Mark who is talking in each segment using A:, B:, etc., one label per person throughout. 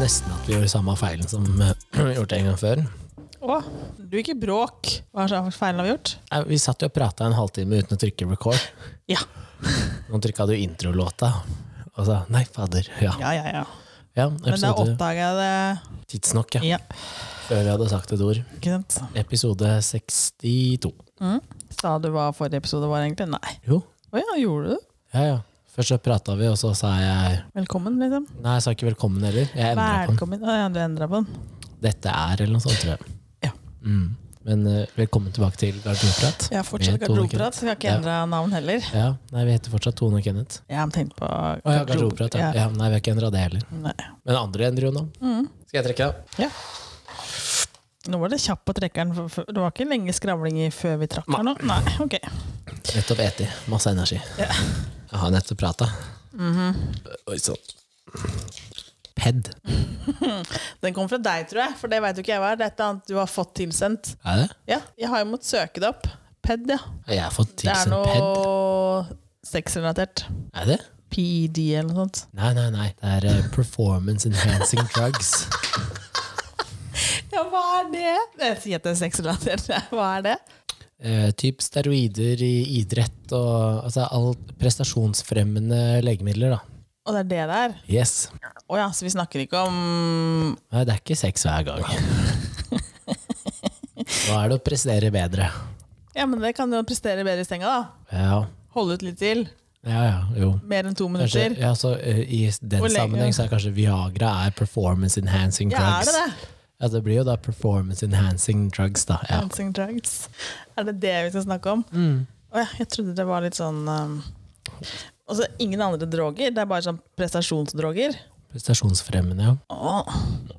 A: nesten at vi gjorde samme feilen som eh, vi gjort en gang før.
B: Å, du gikk i bråk. Hva er slags feil har vi gjort?
A: Nei, Vi satt jo og prata en halvtime uten å trykke record.
B: Ja.
A: Nå trykka du introlåta, og sa nei, fader. Ja.
B: Ja, ja, ja.
A: ja
B: Men da
A: episode
B: oppdaga jeg det
A: Tidsnok, ja.
B: Ja,
A: Før vi hadde sagt et ord.
B: ikke sant.
A: Episode 62.
B: Sa du hva forrige episode var, egentlig? Nei.
A: Jo,
B: Å ja, gjorde du?
A: ja ja. Først så prata vi, og så sa jeg
B: Velkommen, liksom.
A: Nei, jeg sa ikke velkommen heller. Jeg endra på den.
B: Velkommen. Å ja, du endra på den.
A: Dette er, eller noe sånt, tror jeg.
B: Ja.
A: Mm. Men eh, velkommen tilbake til Garderobeprat.
B: Jeg har fortsatt
A: Med Tone
B: garderobeprat, så jeg har ikke
A: Ja.
B: endra navn heller.
A: Ja, nei, vi heter fortsatt Tone og Kenneth.
B: Jeg har tenkt på
A: Å ja, garderobeprat. Ja. Ja, nei, vi har ikke endra det heller.
B: Nei.
A: Men andre endrer jo nå.
B: Mm.
A: Skal jeg trekke, da?
B: Ja. Nå var det kjapt på trekkeren. for- for- Det var ikke lenge skravling i før vi trakk her nå? Nei, ok.
A: Nettopp eti. Masse energi.
B: Ja. Mhm.
A: Jeg har nettopp prata. Oi sann. Ped.
B: Den kom fra deg, tror jeg, for det veit jo ikke jeg hva er. Det er et eller annet du har fått tilsendt.
A: Er det?
B: Ja, jeg har jo måttet søke det opp. PED, ja.
A: Har Jeg har fått
B: Det er
A: tilsendt ped.
B: noe sexrelatert.
A: Er det?
B: PED eller noe sånt.
A: Nei, nei, nei. Det er eh, performance enhancing drugs.
B: Ja, hva er det? Jeg sier at det er sexrelatert. Hva er det?
A: Eh, typ steroider i idrett og altså alt prestasjonsfremmende legemidler, da.
B: Og det er det der?
A: Yes.
B: Å ja, så vi snakker ikke om
A: Nei, det er ikke sex hver gang. Nå er det å prestere bedre.
B: Ja, men det kan du jo prestere bedre i senga, da.
A: Ja,
B: Holde ut litt til.
A: ja, ja jo.
B: Mer enn to
A: Kanskje,
B: minutter.
A: ja, så, eh, I den
B: Hvor lenge-
A: sammenheng så er kanskje Viagra er performance enhancing
B: Ja, er
A: drugs.
B: det det?
A: Ja, det blir jo da performance enhancing drugs, da. Ja. Mm.
B: Dancing drugs. Er det det vi skal snakke om? Å ja, jeg trodde det var litt sånn um, Altså, ingen andre droger. Det er bare sånn prestasjonsdroger.
A: Prestasjonsfremmende, ja.
B: Åh,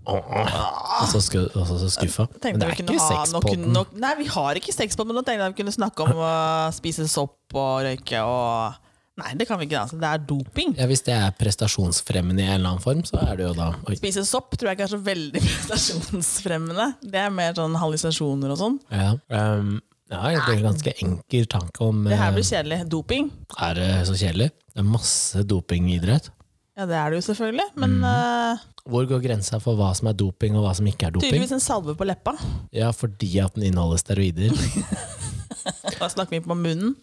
A: Og så sku, og så- så skuffa. Men
B: tenkte
A: det er
B: vi kunne
A: ikke
B: ha
A: sex
B: noe-
A: på den.
B: noe- Nei, vi har ikke sex på den, men nå tenkte jeg vi kunne snakke om å spise sopp og røyke og Nei, det kan vi ikke. Altså. Det er doping.
A: Ja, hvis det er prestasjonsfremmende i en eller annen form, så er det jo da Oi.
B: Spise sopp tror jeg ikke er så veldig prestasjonsfremmende. Det er mer sånn hallusinasjoner og sånn.
A: Ja. Um, ja, egentlig en ganske enkel tanke om
B: Det her
A: eh,
B: blir kjedelig. Doping.
A: Er det så kjedelig? Det er masse dopingidrett.
B: Ja, det er det jo selvfølgelig, men
A: Mhm.
B: eh,
A: Hvor går grensa for hva som er doping og hva som ikke er doping?
B: tydeligvis en salve på leppa.
A: Ja, fordi at den inneholder steroider.
B: Da snakker vi på munnen.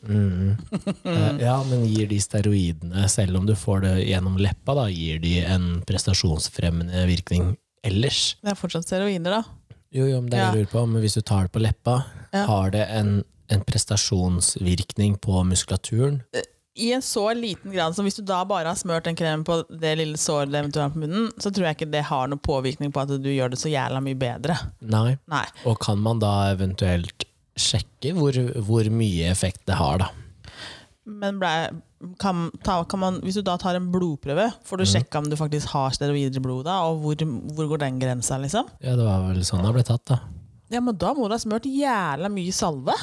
A: Eh, Ja, men gir de steroidene, selv om du får det gjennom leppa, da, gir de en prestasjonsfremmende virkning ellers?
B: Det er fortsatt steroider, da.
A: Jo, jo, men det er det jeg lurer på. Men hvis du tar det på leppa,
B: Ja.
A: har det en, en prestasjonsvirkning på muskulaturen?
B: Eh, I en så liten grad som hvis du da bare har smørt en krem på det lille såret det eventuelt har på munnen, så tror jeg ikke det har noen påvirkning på at du gjør det så jævla mye bedre.
A: Nei.
B: Nei.
A: Og kan man da eventuelt sjekke hvor, hvor mye effekt det har, da?
B: Men ble, kan, ta, kan man, hvis du da tar en blodprøve, får du sjekka om du faktisk har steroider i blodet, da, og hvor, hvor går den grensa, liksom?
A: Ja, det var vel sånn det ble tatt, da.
B: Ja, men da må du ha smørt jævla mye salve.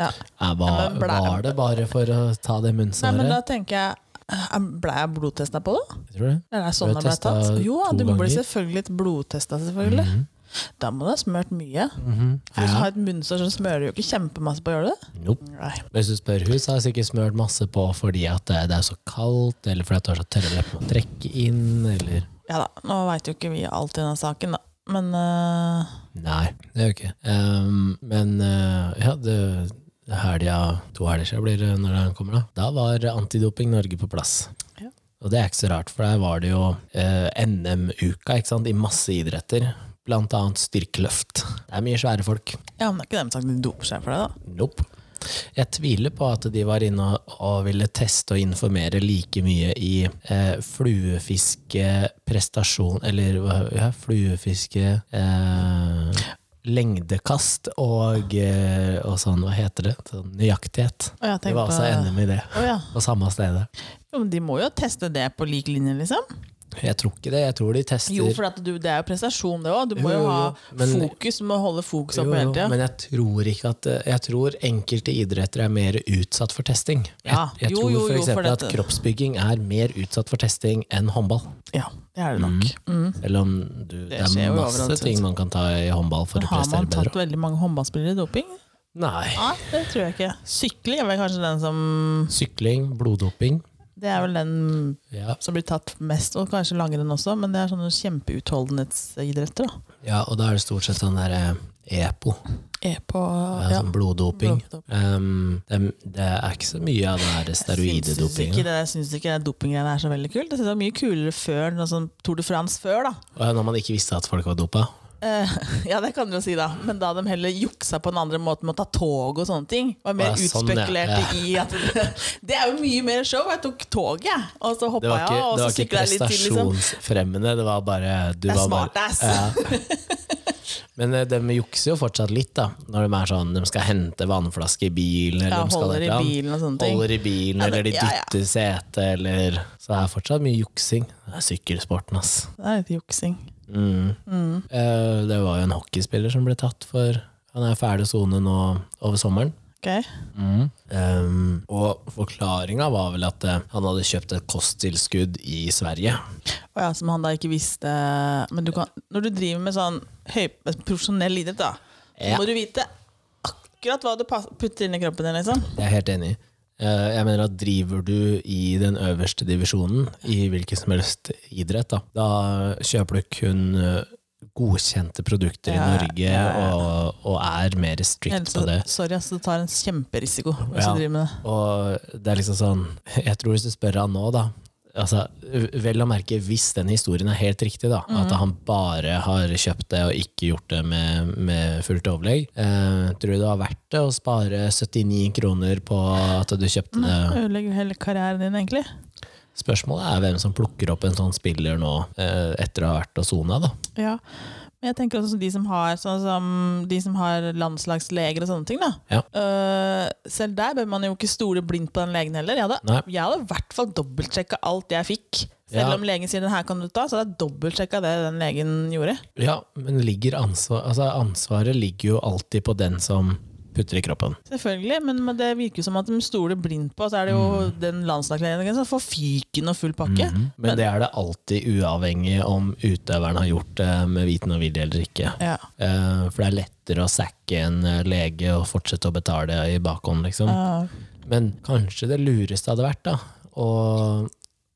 B: ja.
A: Ja, var,
B: men ble-
A: Mm-hmm. var det bare for å ta det sånn
B: Nei, men da
A: munnsåret?
B: tenker jeg eh, Ble jeg blodtesta på det?
A: Tror du det?
B: Er det
A: Du
B: sånn
A: ble
B: det ble
A: testet
B: tatt? Jo,
A: to
B: du blir
A: ganger. Mm.
B: selvfølgelig litt blodtesta, selvfølgelig. Da må du ha smørt mye.
A: Mm-hmm.
B: For Hvis du har et munnsår, så smører du jo ikke kjempemasse på, gjør du det?
A: Nope.
B: Nei.
A: Hvis du spør hun, så har jeg sikkert smørt masse på fordi at det, det er så kaldt, eller fordi at du har så tørre lepper å trekke inn, eller
B: Ja da, nå veit jo ikke vi alt i den saken, da. Men øh,
A: Nei, det gjør jeg ikke. Ehm, men eh, ja, det helga to helger siden blir det når han kommer, da. Da var Antidoping Norge på plass.
B: Ja.
A: Og det er ikke så rart, for der var det jo eh, NM-uka ikke sant, i masse idretter. Blant annet styrkeløft. Det er mye svære folk.
B: ja, men det er ikke dem sagt de doper seg for det, da.
A: Nope. Jeg tviler på at de var inne og- og ville teste og informere like mye i eh, fluefiskeprestasjon Eller hva- ja, fluefiske eh, Lengdekast og, eh, og sånn, hva heter det? Sånn nøyaktighet.
B: Å, jeg
A: Det var
B: tenkte-
A: altså NM i det,
B: Å ja.
A: på samme stedet.
B: Jo, men de må jo teste det på lik linje, liksom.
A: Jeg tror ikke det. Jeg tror de tester
B: Jo, for at du, det er jo prestasjon, det òg. Du må
A: Jo,
B: jo,
A: jo,
B: ha
A: jo, men-
B: fokus, du må holde fokus
A: Jo,
B: oppe hele
A: jo,
B: tida.
A: men jeg tror ikke at Jeg tror enkelte idretter er mer utsatt for testing.
B: Ja,
A: Jeg, jeg
B: jo,
A: tror
B: jo,
A: for
B: jo, for
A: eksempel at
B: dette.
A: kroppsbygging er mer utsatt for testing enn håndball.
B: Ja, det er det nok. Mm.
A: Selv om du, Mhm. det,
B: skjer
A: er
B: jo
A: masse
B: overalt,
A: ting man kan ta i håndball for å
B: Har
A: prestere
B: man tatt
A: bedre. Eh.
B: veldig mange håndballspillere i doping? Ah,
A: Nei.
B: Nei, det tror jeg ikke. Sykling er vel kanskje den som
A: Sykling, bloddoping.
B: Det er vel den
A: Ja.
B: som blir tatt mest, og kanskje langrenn også, men det er sånne kjempeutholdenhetsidretter. da.
A: ja, og da er det stort sett sånn derre EPO,
B: E på
A: ja,
B: ja.
A: sånn bloddoping.
B: Bloddoping.
A: Um, det, det er ikke så mye av det her
B: Jeg syns ikke
A: steroidedopinga.
B: det, jeg syns ikke det dopinggreiene er så veldig kult. Jeg synes det var mye kulere før, noe sånn Tour de France før, da.
A: Og Når man ikke visste at folk var dopa.
B: Eh, ja, det kan du jo si, da. Men da de heller juksa på den andre måten med å ta tog og sånne ting. Var mer
A: Å, ja, sånn, ja.
B: utspekulerte i at Det er jo mye mer show! Jeg tok toget, jeg. og så
A: Det
B: hoppa
A: var
B: jeg
A: ikke,
B: av, og
A: det
B: så
A: var ikke
B: sykla jeg litt til, liksom.
A: prestasjonsfremmende, det var bare du
B: Det
A: var
B: er
A: bare-
B: smartass.
A: Men eh, de jukser jo fortsatt litt, da. Når de er sånn, de skal hente vannflaske i bilen, eller
B: Ja,
A: de skal
B: holder i
A: et eller annet.
B: bilen og sånne ting.
A: Holder i bilen,
B: Ja, men-
A: eller de
B: ja, ja.
A: dytter setet, eller Så det er fortsatt mye juksing. Det er sykkelsporten, ass.
B: Det er litt juksing.
A: Mm. Eh, Det var jo en hockeyspiller som ble tatt for Han er ferdig å sone nå over sommeren.
B: Ok?
A: Um, og forklaringa var vel at eh, han hadde kjøpt et kosttilskudd i Sverige.
B: Og ja, som han da ikke visste Men du kan, når du driver med sånn høy, profesjonell idrett, da, så
A: Ja.
B: må du vite akkurat hva du pass- putter inn i kroppen din, liksom.
A: Jeg er helt enig. Eh, Jeg mener at driver du i den øverste divisjonen i hvilken som helst idrett, da, da kjøper du kun eh, godkjente produkter i
B: Ja,
A: Norge Og, og er mer strict
B: Ellers,
A: på det.
B: sorry, ass, du tar en kjemperisiko hvis
A: Ja.
B: du driver med det.
A: Og det er liksom sånn Jeg tror hvis du spør han nå, da altså, Vel å merke hvis den historien er helt riktig, da.
B: Mhm.
A: At han bare har kjøpt det og ikke gjort det med, med fullt overlegg. Eh, tror du det var verdt det å spare 79 kroner på at du kjøpte det?
B: Ødelegger jo hele karrieren din, egentlig.
A: Spørsmålet er hvem som plukker opp en sånn spiller nå eh, etter å ha vært og sona, da.
B: Ja, men jeg tenker også sånn de som har, sånn som de som har landslagsleger og sånne ting. Da.
A: Ja.
B: Eh, selv der bør man jo ikke stole blindt på den legen heller. Jeg hadde,
A: Nei.
B: jeg hadde i hvert fall dobbeltsjekka alt jeg fikk. Selv
A: Ja.
B: om legen sier den her kan du ta, så hadde jeg dobbeltsjekka det den legen gjorde.
A: Ja, men ligger ansvar, altså ansvaret ligger jo alltid på den som putter i kroppen.
B: Selvfølgelig, men men det virker jo som at de stoler blindt på. Så er det jo
A: Mm.
B: den landslagslegen som får fyken og full pakke.
A: Men det er det alltid uavhengig om utøveren har gjort det med viten og vilje eller ikke.
B: Ja.
A: Eh, For det er lettere å sacke en eh, lege og fortsette å betale i bakhånd, liksom.
B: Ja.
A: Men kanskje det lureste hadde vært da, å,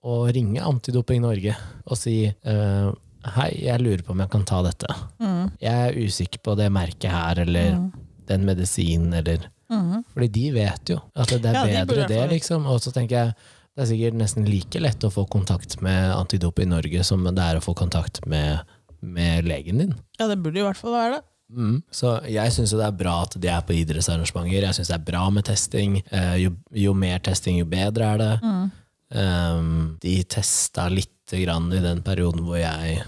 A: å ringe Antidoping Norge og si eh, Hei, jeg lurer på om jeg kan ta dette.
B: Mm.
A: Jeg er usikker på det merket her, eller den medisinen, eller Fordi de vet jo at det er
B: Mm. Ja, de burde i
A: bedre
B: hvert
A: det,
B: fall-
A: liksom. Og så tenker jeg det er sikkert nesten like lett å få kontakt med Antidoping Norge som det er å få kontakt med, med legen din.
B: ja, det burde jo i hvert fall være det.
A: Mm. Så jeg syns det er bra at de er på idrettsarrangementer. Jeg syns det er bra med testing. Eh, jo, jo mer testing, jo bedre er det. Um, de testa lite grann i den perioden hvor jeg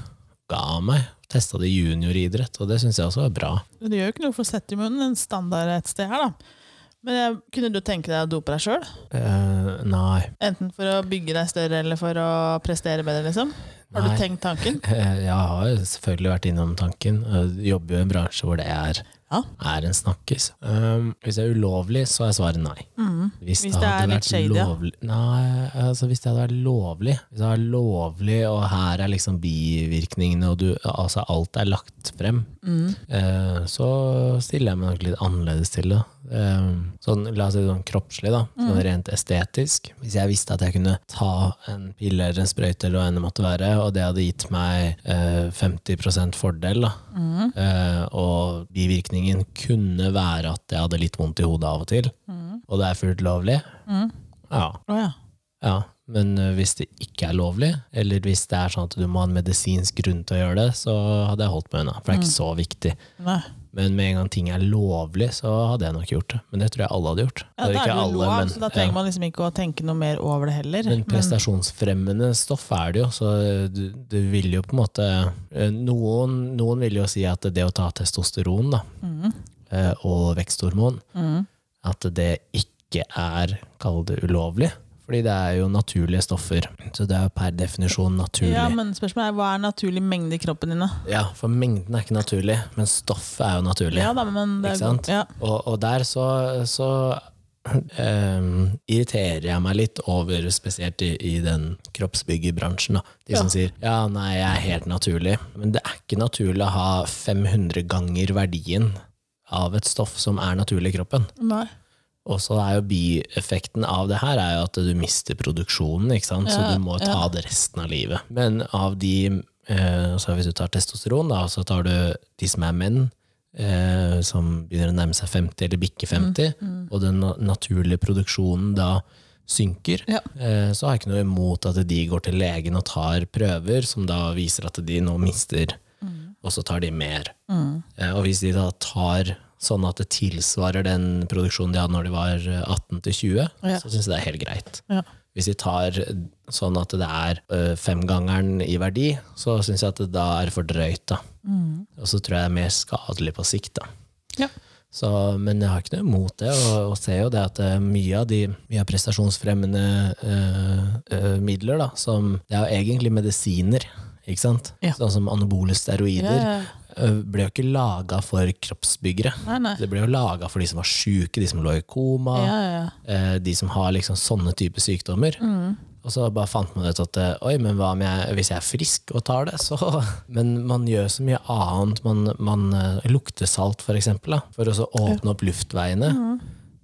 A: ga meg. Testa det i junioridrett, og det syns jeg også er bra.
B: Men det gjør jo ikke noe for å sette i munnen en standard et sted her, da. Men jeg, kunne du tenke deg å dope deg sjøl?
A: Eh, nei.
B: Enten for å bygge deg større eller for å prestere bedre, liksom? Har
A: Nei.
B: du tenkt tanken?
A: Eh, Jeg har jo selvfølgelig vært innom tanken. Jeg Jobber jo i en bransje hvor det er,
B: Ja.
A: er en snakkis. Um, hvis det er ulovlig, så er svaret nei. Hvis,
B: Mm. Hvis det er litt shady, ja.
A: lovlig Nei, altså hvis det hadde vært lovlig. Hvis det er lovlig, og her er liksom bivirkningene, og du, altså alt er lagt frem,
B: Mm.
A: eh, så stiller jeg meg nok litt annerledes til det. Um, sånn, la oss si sånn kroppslig, da. Sånn
B: Mm.
A: rent estetisk. Hvis jeg visste at jeg kunne ta en pille eller en sprøyte, eller hva enn det måtte være, og det hadde gitt meg eh, 50 fordel, da. Eh, og bivirkningen kunne være at jeg hadde litt vondt i hodet av og til,
B: Mm.
A: og det er fullt lovlig. Ja.
B: Å ja.
A: ja. Men eh, hvis det ikke er lovlig, eller hvis det er sånn at du må ha en medisinsk grunn til å gjøre det, så hadde jeg holdt meg unna. For det er
B: Mm.
A: ikke så viktig.
B: Nei.
A: Men med en gang ting er lovlig, så hadde jeg nok gjort det. Men det tror jeg alle hadde gjort.
B: Ja,
A: Eller
B: da er det
A: ikke
B: jo
A: alle,
B: lov,
A: men-
B: så da
A: ja.
B: trenger man liksom ikke å tenke noe mer over det heller.
A: Men prestasjonsfremmende stoff er det jo, så du, du vil jo på en måte eh, noen, noen vil jo si at det å ta testosteron da,
B: Mm.
A: eh, og veksthormon, at det ikke er, kall det ulovlig. Fordi det er jo naturlige stoffer, så det er jo per definisjon naturlig.
B: ja,
A: Ja,
B: men spørsmålet er hva er naturlig mengde i kroppen din, da?
A: for mengden er ikke naturlig, men stoffet er jo naturlig.
B: Ja da, men det
A: Ikke
B: er
A: sant?
B: Ja.
A: Og, og der så, så ehm, irriterer jeg meg litt over, spesielt i, i den kroppsbyggerbransjen, da. de som sier ja, nei, jeg er helt naturlig. Men det er ikke naturlig å ha 500 ganger verdien av et stoff som er naturlig i kroppen.
B: Nei.
A: Og så er jo bieffekten av det her er jo at du mister produksjonen, ikke sant? så
B: Ja,
A: du må ta
B: ja.
A: det resten av livet. Men av de, eh, så hvis du tar testosteron, da, så tar du de som er menn, eh, som begynner å nærme seg 50 eller bikke 50,
B: Mm,
A: og den na- naturlige produksjonen da synker,
B: Ja.
A: eh, så har jeg ikke noe imot at de går til legen og tar prøver, som da viser at de nå mister, og så tar de mer. Eh, Og hvis de da tar sånn at det tilsvarer den produksjonen de hadde når de var eh, 18 til 20,
B: Ja.
A: så syns jeg det er helt greit.
B: Ja.
A: Hvis de tar eh, sånn at det er eh, femgangeren i verdi, så syns jeg at det da er for drøyt. Da. Og så tror jeg det er mer skadelig på sikt. Da.
B: Ja.
A: Så, men jeg har ikke noe imot det, og, og ser jo det at eh, mye av de mye av prestasjonsfremmende eh, eh, midler, da, som Det er jo egentlig medisiner, ikke sant?
B: Ja.
A: Sånn som anabole steroider
B: Ja, ja.
A: eh, ble jo ikke laga for kroppsbyggere.
B: Nei, nei.
A: Det ble jo laga for de som var sjuke, de som lå i koma,
B: Ja, ja, ja.
A: eh, de som har liksom sånne type sykdommer. Og så bare fant man ut at eh, oi, men hva om jeg, hvis jeg er frisk og tar det, så Men man gjør så mye annet. Man, man eh, lukter salt, for eksempel, da, for å så åpne opp luftveiene.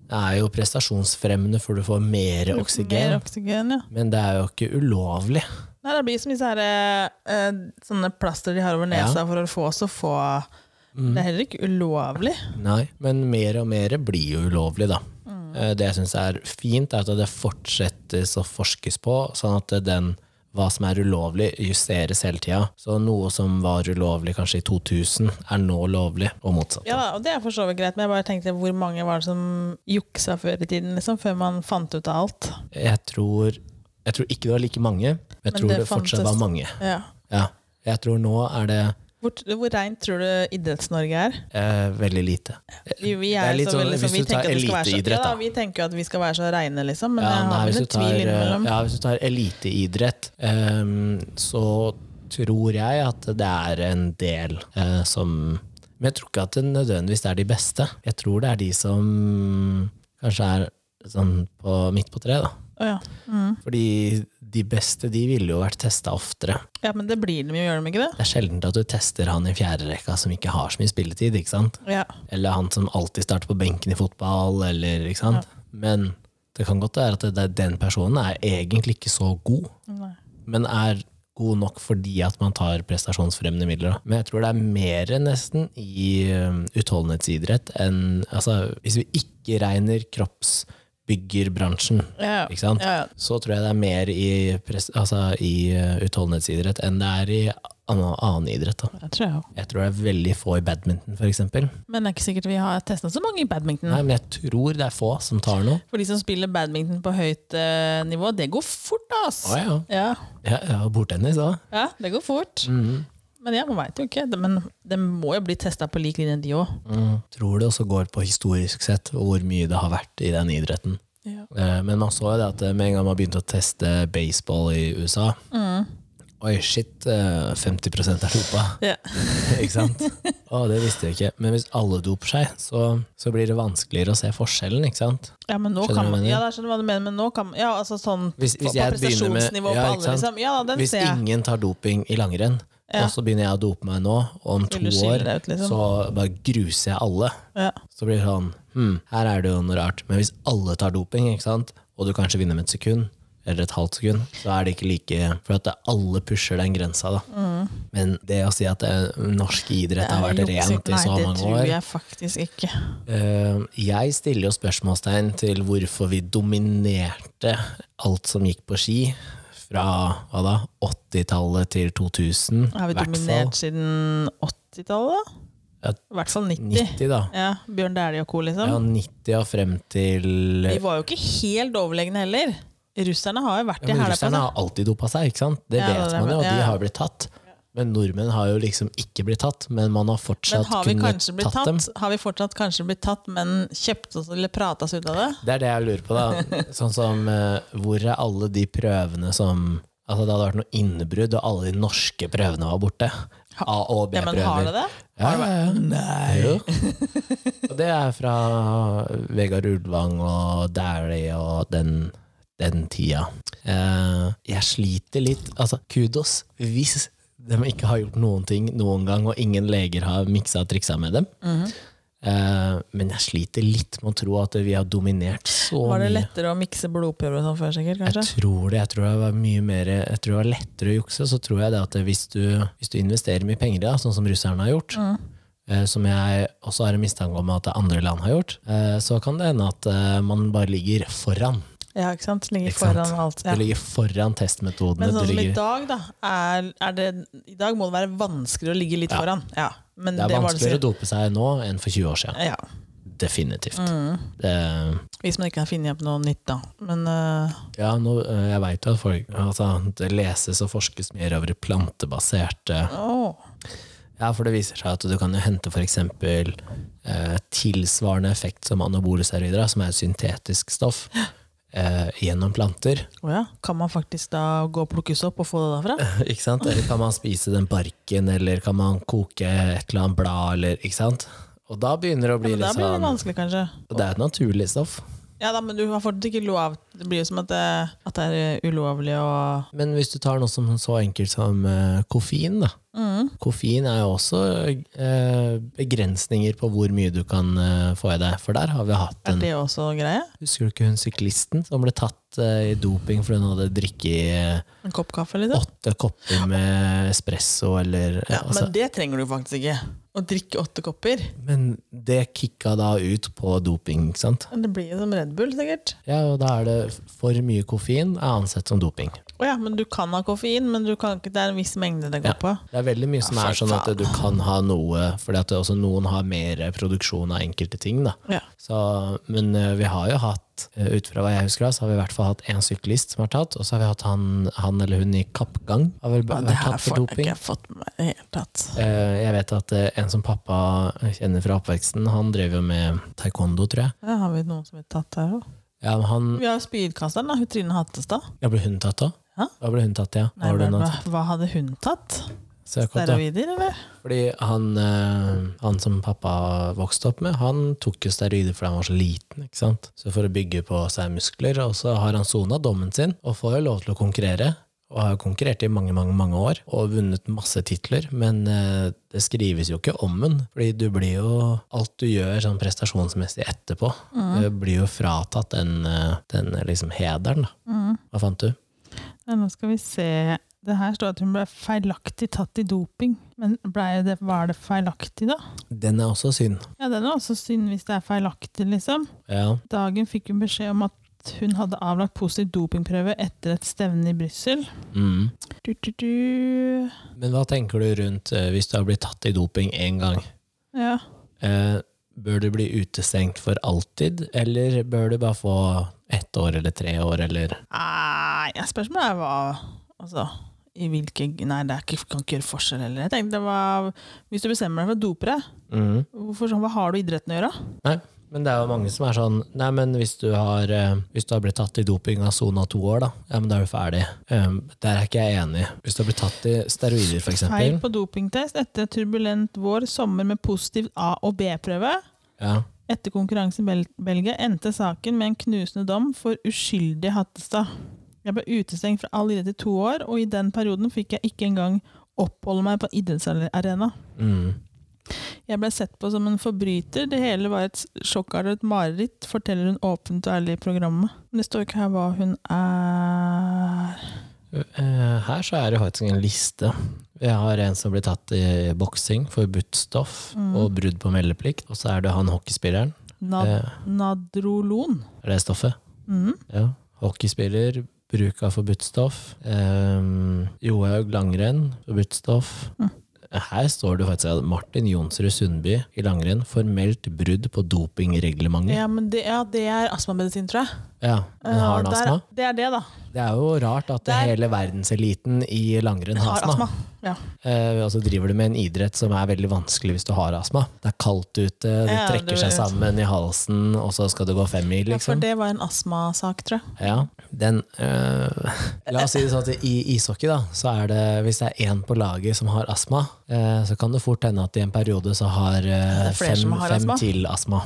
A: Det er jo prestasjonsfremmende, for Mm. du får mer
B: Mer
A: oksygen.
B: oksygen, ja.
A: Men det er jo ikke ulovlig.
B: Nei, det blir som disse her, eh, sånne plaster de har over nesa for å få så få
A: Mm.
B: Det er heller ikke ulovlig.
A: Nei, men mer og mer blir jo ulovlig, da.
B: Mm.
A: Eh, Det jeg syns er fint, er at det fortsettes å forskes på, sånn at den hva som er ulovlig, justeres hele tida. Så noe som var ulovlig kanskje i 2000, er nå lovlig, og motsatt.
B: Ja, da, og det er for så vidt greit, men jeg bare tenkte hvor mange var det som juksa før i tiden, liksom, før man fant ut av alt.
A: Jeg, tror, jeg tror ikke det var like mange, men jeg
B: Men
A: tror
B: det
A: det, fortsatt
B: fantes.
A: var mange.
B: Ja.
A: Ja. Jeg tror nå er det
B: Hvor, hvor reint tror du Idretts-Norge er?
A: eh, veldig lite.
B: Vi, vi
A: Det
B: er,
A: er litt
B: så
A: sånn,
B: veldig,
A: hvis
B: sånn, vi
A: du tar
B: tenker at vi skal være så, ja,
A: eliteidrett,
B: da,
A: da.
B: vi tenker jo at vi skal være så reine, liksom, men
A: Ja,
B: jeg
A: nei,
B: har
A: hvis
B: vel
A: du
B: litt tvil
A: tar, eh,
B: innimellom.
A: ja, hvis du tar eliteidrett, ehm, så tror jeg at det er en del eh, som Men jeg tror ikke at det nødvendigvis er de beste. Jeg tror det er de som kanskje er sånn på, midt på treet, da.
B: Å, ja. Mm.
A: Fordi de beste de ville jo vært testa oftere.
B: ja, men det blir dem jo, gjør de ikke det?
A: Det er sjelden at du tester han i fjerderekka som ikke har så mye spilletid, ikke sant?
B: Ja.
A: Eller han som alltid starter på benken i fotball, eller ikke sant. Men det kan godt være at det, det, den personen er egentlig ikke så god,
B: Nei.
A: men er god nok fordi at man tar prestasjonsfremmende midler. Da. Men jeg tror det er mer nesten i um, utholdenhetsidrett enn altså, Hvis vi ikke regner kroppsbyggerbransjen,
B: Ja,
A: ikke sant?
B: ja, ja.
A: så tror jeg det er mer i, pres- altså, i uh, utholdenhetsidrett enn det er i annen, annen idrett. Da.
B: Det tror jeg også.
A: Jeg tror det er veldig få i badminton, for eksempel.
B: Men det er ikke sikkert vi har testa så mange i badminton.
A: Nei, men jeg tror det er få som tar noe.
B: For de som spiller badminton på høyt eh, nivå, det går fort, ass!
A: Å ja.
B: ja.
A: Ja, ja, bordtennis òg.
B: ja, det går fort. Men jeg veit jo ikke. Det- Men det må jo bli testa på lik linje, de òg.
A: Mm. Tror det også går på historisk sett og hvor mye det har vært i den idretten.
B: Ja.
A: Eh, Men man så jo det at eh, med en gang man begynte å teste baseball i USA
B: Mm.
A: Oi, shit, eh, 50 er dopa.
B: Ja.
A: Ikke sant? Å, det visste vi ikke. Men hvis alle doper seg, så, så blir det vanskeligere å se forskjellen, ikke sant?
B: men nå
A: Skjønner du
B: kan
A: hva jeg
B: man,
A: mener?
B: ja, da skjønner jeg hva du mener, men nå kan man Ja, altså sånn
A: Hvis- hvis
B: på- på
A: jeg begynner med-
B: prestasjonsnivå
A: ja,
B: på
A: ikke
B: alle,
A: sant?
B: liksom. Ja, da, den
A: Hvis
B: ser jeg.
A: ingen tar doping i langrenn,
B: Ja.
A: og så begynner jeg å dope meg nå, og om to
B: Vil du skille
A: år
B: deg ut, liksom?
A: så bare gruser jeg alle.
B: Ja.
A: Så blir det sånn hm, Her er det jo noe rart. Men hvis alle tar doping, ikke sant? og du kanskje vinner med et sekund, eller et halvt sekund, så er det ikke like For at det, alle pusher den grensa, da. Men det å si at det, norsk idrett har vært
B: Mm. Det er jo
A: rent i
B: juksing.
A: så
B: Nei, det
A: mange
B: tror
A: år
B: jeg faktisk ikke.
A: Eh, Jeg stiller jo spørsmålstegn til hvorfor vi dominerte alt som gikk på ski. Fra hva da, 80-tallet til 2000.
B: Har vi
A: hvert fall.
B: dominert siden 80-tallet?
A: Ja,
B: da? I hvert fall 90.
A: 90, da.
B: Ja, Bjørn Dæhlie og co., liksom.
A: Ja, 90 og frem til
B: De var jo ikke helt overlegne heller. Russerne har jo vært
A: Ja,
B: i
A: men
B: hæla på
A: russerne har alltid dopa seg, ikke sant? Det
B: Ja,
A: vet
B: det
A: man
B: er
A: jo,
B: det.
A: og de
B: Ja.
A: har blitt tatt. Men nordmenn har jo liksom ikke blitt tatt, men man har
B: Men
A: fortsatt
B: har vi
A: kunnet
B: kanskje blitt
A: tatt,
B: tatt?
A: dem.
B: Har vi fortsatt kanskje blitt tatt, men kjøpt oss eller prata oss ut av det?
A: Det er det jeg lurer på, da. Sånn som eh, hvor er alle de prøvene som Altså, det hadde vært noe innbrudd, og alle de norske prøvene var borte. A- og
B: Ja, men har det
A: B-prøver.
B: det?
A: Ja, ja, ja. Nei. Og det er fra Vegard Ulvang og Dæhlie og den, den tida. Eh, jeg sliter litt. Altså, kudos
B: Mhm.
A: hvis de ikke har gjort noen ting noen gang, og ingen leger har miksa og triksa med dem. Eh, men jeg sliter litt med å tro at vi har dominert så
B: Var det
A: mye.
B: lettere å mikse blodprøver og sånn før, sikkert? kanskje?
A: Jeg tror det. Jeg tror det var mye mer Jeg tror det var lettere å jukse. Så tror jeg det at hvis du, hvis du investerer mye penger i det, sånn som russerne har gjort,
B: Mm.
A: eh, som jeg også har en mistanke om at andre land har gjort, eh, så kan det hende at eh, man bare ligger foran.
B: Ja, ikke sant? Ligger
A: Ikke sant?
B: foran alt. Ja.
A: Du ligger foran testmetodene.
B: Men sånn
A: du
B: som i
A: ligger,
B: dag, da. Er, er det, I dag må det være vanskeligere å ligge litt
A: Ja.
B: foran. Ja. Men
A: det er
B: var
A: vanskeligere å dope seg nå enn for 20 år siden.
B: Ja.
A: Definitivt.
B: Mm.
A: Det,
B: Hvis man ikke kan finne opp noe nytt, da. Men øh,
A: ja, nå, eh, jeg veit jo at folk, altså, det leses og forskes mer over plantebaserte
B: åh,
A: Ja, for det viser seg at du kan jo hente for eksempel eh, tilsvarende effekt som anabole steroider, da, som er et syntetisk stoff, eh, gjennom planter.
B: åh ja. kan man faktisk da gå og plukkes opp og få det derfra?
A: Ikke sant? Eller kan man spise den barken, eller kan man koke et eller annet blad, eller ikke sant? Og da begynner det å bli
B: Men da
A: litt
B: blir det
A: sånn
B: vanskelig, kanskje.
A: Det er et naturlig stoff.
B: Ja da, men du har fortsatt ikke lov Det blir jo som at det, at det er øh, ulovlig og
A: Men hvis du tar noe som så enkelt som eh, koffein, da.
B: Mm.
A: Koffein er jo også eh, begrensninger på hvor mye du kan eh, få i deg, for der har vi hatt
B: Er
A: en
B: det også greie?
A: Husker du ikke hun syklisten som ble tatt eh, i doping fordi hun hadde drikket eh,
B: En kopp kaffe, liksom?
A: åtte kopper med espresso eller
B: Ja,
A: altså,
B: men det trenger du faktisk ikke. Å drikke åtte kopper.
A: men det kicka da ut på doping, ikke sant?
B: Men Det blir jo som Red Bull, sikkert.
A: Ja, og da er det for mye koffein er ansett som doping.
B: Å ja, men du kan ha koffein, men du kan ikke, det er en viss mengde det går på.
A: Det er veldig mye som
B: Ja,
A: er
B: for
A: sånn at du kan ha noe, fordi at det også noen har mer produksjon av enkelte ting, da.
B: Ja.
A: Så, men eh, vi har jo hatt, eh, ut fra hva jeg husker, da, så har vi i hvert fall hatt én syklist som har tatt, og så har vi hatt han, han eller hun i kappgang. Har vel
B: Ja,
A: vært
B: det her
A: tatt for
B: får jeg
A: doping.
B: ikke fått med meg i det hele tatt.
A: Eh, Jeg vet at eh, en som pappa kjenner fra oppveksten, han drev jo med taekwondo, tror jeg.
B: Ja, har vi noen som er tatt her òg?
A: Ja, men han,
B: Vi har jo spydkasteren, da. hun Trine Hattestad.
A: ja, ble hun tatt da?
B: Hæ?
A: Da ble hun tatt, ja.
B: Nei,
A: Var det
B: men
A: noe?
B: hva, hva hadde hun tatt?
A: Søkopp, da.
B: Steroider, eller?
A: Fordi han, eh, han som pappa vokste opp med, han tok jo steroider fordi han var så liten, ikke sant? Så for å bygge på seg muskler, og så har han sona dommen sin, og får jo lov til å konkurrere. Og har jo konkurrert i mange, mange mange år, og vunnet masse titler, men eh, det skrives jo ikke om den. Fordi du blir jo Alt du gjør sånn prestasjonsmessig etterpå, eh, blir jo fratatt den, eh, den liksom hederen, da. Hva fant du?
B: Ja, Mm. nå skal vi se. Det her står at hun ble feilaktig tatt i doping. Men ble det, var det feilaktig, da?
A: Den er også synd.
B: Ja, Den er også synd hvis det er feilaktig, liksom.
A: Ja.
B: Dagen fikk hun beskjed om at hun hadde avlagt positiv dopingprøve etter et stevne i Brussel.
A: Mm.
B: Du, du, du.
A: Men hva tenker du rundt eh, hvis du har blitt tatt i doping én gang?
B: Ja.
A: Eh, bør du bli utestengt for alltid, eller bør du bare få ett år eller tre år, eller
B: Nei, ja, spørsmålet er hva Altså, i hvilke Nei, det er ikke, kan ikke gjøre forskjell heller. Jeg tenkte det var Hvis du bestemmer deg for å dope deg,
A: Mhm.
B: hvorfor, sånn, hva har du i idretten å gjøre?
A: Nei. Men det er jo mange som er sånn Nei, men hvis du har, eh, hvis du har blitt tatt i doping av sona to år, da, ja, men da er du ferdig. Eh, der er ikke jeg enig. Hvis du har blitt tatt i steroider, for
B: Feil
A: eksempel
B: på dopingtest etter turbulent vår, sommer med positiv A- og B-prøve.
A: ja,
B: Etter konkurransen i Bel Belgia endte saken med en knusende dom for uskyldig Hattestad. Jeg ble utestengt fra all idrett i to år, og i den perioden fikk jeg ikke engang oppholde meg på idrettsarena.
A: mm.
B: Jeg ble sett på som en forbryter. Det hele var et sjokkartet mareritt, forteller hun åpent og ærlig i programmet. Men det står ikke her hva hun er
A: Eh, Her så er det faktisk en liste. Vi har en som blir tatt i boksing, forbudt stoff og brudd på meldeplikt. Og så er det han hockeyspilleren.
B: Nad
A: Eh,
B: Nadrolon.
A: er det stoffet?
B: Mm.
A: Ja. Hockeyspiller, bruk av forbudt stoff. Um, Johaug langrenn, forbudt stoff.
B: Mm.
A: Her står det faktisk at Martin Jonsrud Sundby i langrenn formelt brudd på dopingreglementet. Ja.
B: Ja, men det, ja, det er astmamedisin, tror jeg.
A: men har han
B: Eh, der-
A: astma?
B: Det er det, da.
A: Det er jo rart at
B: Der-
A: hele verdenseliten i langrenn har
B: Har
A: astma.
B: astma. Ja.
A: Eh, og så driver du med en idrett som er veldig vanskelig hvis du har astma. Det er kaldt ute, det
B: Ja,
A: trekker
B: du
A: seg
B: vet.
A: sammen i halsen, og så skal du gå femmil,
B: ja, for
A: liksom.
B: det var en astmasak, tror jeg.
A: Ja, den eh, La oss si det sånn at i ishockey, da, så er det hvis det er én på laget som har astma, eh, så kan det fort hende at i en periode så har eh,
B: det er flere
A: fem,
B: som har
A: fem
B: astma.
A: til astma.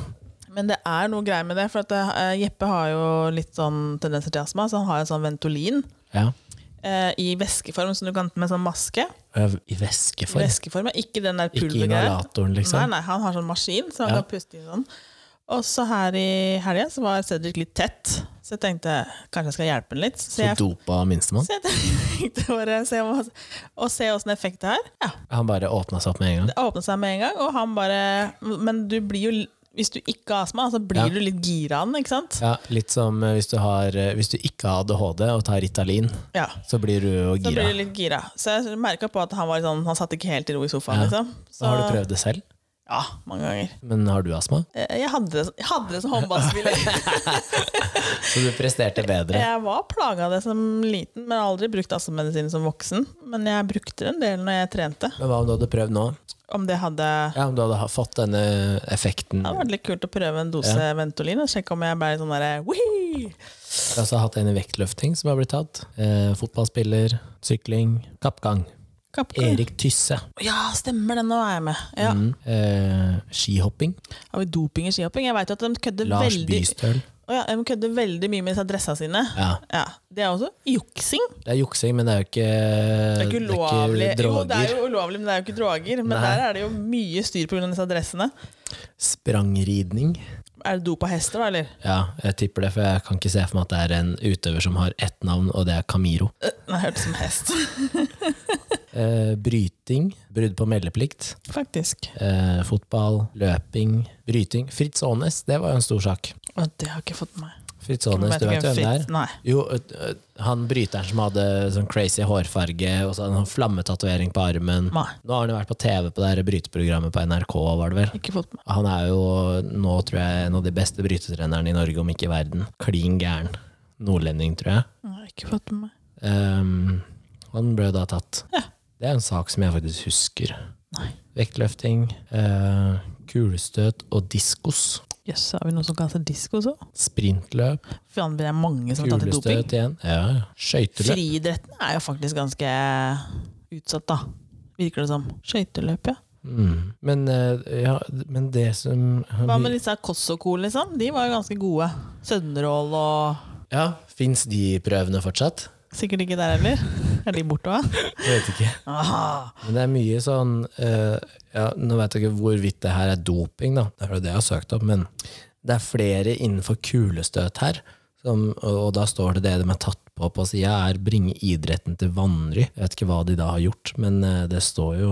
B: Men det er noe greier med det. For at, eh, Jeppe har jo litt sånn tendenser til astma, så han har en sånn Ventolin.
A: Ja.
B: eh, i væskeform, som du kan med sånn maske.
A: Øv I væskeform.
B: Væskeform er ikke den der
A: Ikke
B: pulvergreia.
A: inhalatoren,
B: Nei,
A: liksom.
B: nei, han har sånn maskin, så han
A: Ja.
B: kan puste inn sånn. Og så her i helga så var Cedric litt tett, så jeg tenkte kanskje jeg skal hjelpe han litt. Så
A: Så
B: jeg,
A: dopa minstemann.
B: så jeg tenkte bare se om, og se åssen effekt det er. Ja,
A: Han bare åpna seg opp med en gang.
B: det åpnet seg med en gang, og han bare Men du blir jo hvis du ikke har astma, så blir
A: Ja.
B: du litt gira av den, ikke sant?
A: Ja, litt som eh, hvis du, har, eh, hvis du ikke har ADHD og tar Ritalin,
B: Ja.
A: så blir du jo
B: Så
A: gira.
B: blir du litt gira. Så jeg merka på at han var litt sånn, han satt ikke helt i ro i
A: Ja.
B: sofaen. liksom. Så,
A: Har du prøvd det selv?
B: Ja, mange ganger.
A: Men har du astma?
B: Eh, Jeg hadde det, jeg hadde det som håndballspiller.
A: Så du presterte bedre.
B: Jeg var plaga av det som liten, men aldri brukt astmamedisin som voksen. Men jeg brukte det en del når jeg trente.
A: Men hva om du hadde prøvd nå?
B: Om det hadde
A: Ja, om du hadde ha- fått denne effekten,
B: Det hadde vært litt kult å prøve en dose Ventolin og sjekke om jeg ble sånn derre «Wihi!»
A: altså hatt en i vektløfting som har blitt tatt, eh, fotballspiller, sykling, kappgang,
B: Kappgang.
A: Erik Tysse,
B: Ja, stemmer det, nå er jeg med. Ja.
A: Eh. mm, eh, skihopping,
B: Har vi doping i skihopping? Jeg vet jo at de kødder,
A: Lars
B: veldig,
A: Bystøl.
B: Å ja, de kødder veldig mye med disse dressa sine.
A: Ja,
B: Ja, Det er også juksing.
A: det er juksing, men det er jo ikke,
B: Det er ikke ulovlig. jo, det
A: droger.
B: er jo ulovlig, men det er jo ikke droger. Men
A: Nei.
B: der er det jo mye styr pga. disse dressene.
A: Sprangridning.
B: Er det dopa hester, da, eller?
A: Ja, jeg tipper det, for jeg kan ikke se for meg at det er en utøver som har ett navn, og det er Camiro.
B: Øh, Nei, jeg hørte som hest.
A: Eh, bryting, brudd på meldeplikt,
B: Faktisk.
A: eh, fotball, løping, bryting. Fritz Aanes, det var jo en stor sak.
B: Og det har jeg ikke fått med meg.
A: Fritz Aanes, du vet jo hvem det er?
B: Nei.
A: Jo, ø- ø- han bryteren som hadde sånn crazy hårfarge og så hadde han flammetatovering på armen.
B: Nei.
A: Nå har han jo vært på TV på det her bryteprogrammet på NRK, var det vel?
B: Ikke fått med meg.
A: Han er jo nå, tror jeg, en av de beste brytetrenerne i Norge, om ikke i verden. Klin gæren. Nordlending, tror jeg.
B: Nei, ikke fått med meg.
A: Ehm, han ble jo da tatt.
B: Ja.
A: Det er en sak som jeg faktisk husker.
B: Nei.
A: Vektløfting, eh, kulestøt og diskos.
B: Jøss, har vi noe som kalles disko også?
A: Sprintløp,
B: Faen, det er mange som har tatt i doping.
A: kulestøt igjen. Ja, ja. Skøyteløp.
B: Friidretten er jo faktisk ganske utsatt, da. Virker det som. Skøyteløp, ja.
A: Mm. Men, eh, ja, men det som
B: Hva med disse Kossoko-ene, liksom? De var jo ganske gode. Sønderål og
A: Ja, Fins de prøvene fortsatt?
B: Sikkert ikke der heller. Er de borte òg?
A: Jeg vet ikke. Men det er mye sånn eh, ja, Nå vet jeg ikke hvorvidt det her er doping, da. Det er jo det jeg har søkt opp, men det er flere innenfor kulestøt her. Som, og og da står det det de er tatt på på sida, er 'bringe idretten til vanry'. Jeg vet ikke hva de da har gjort, men eh, det står jo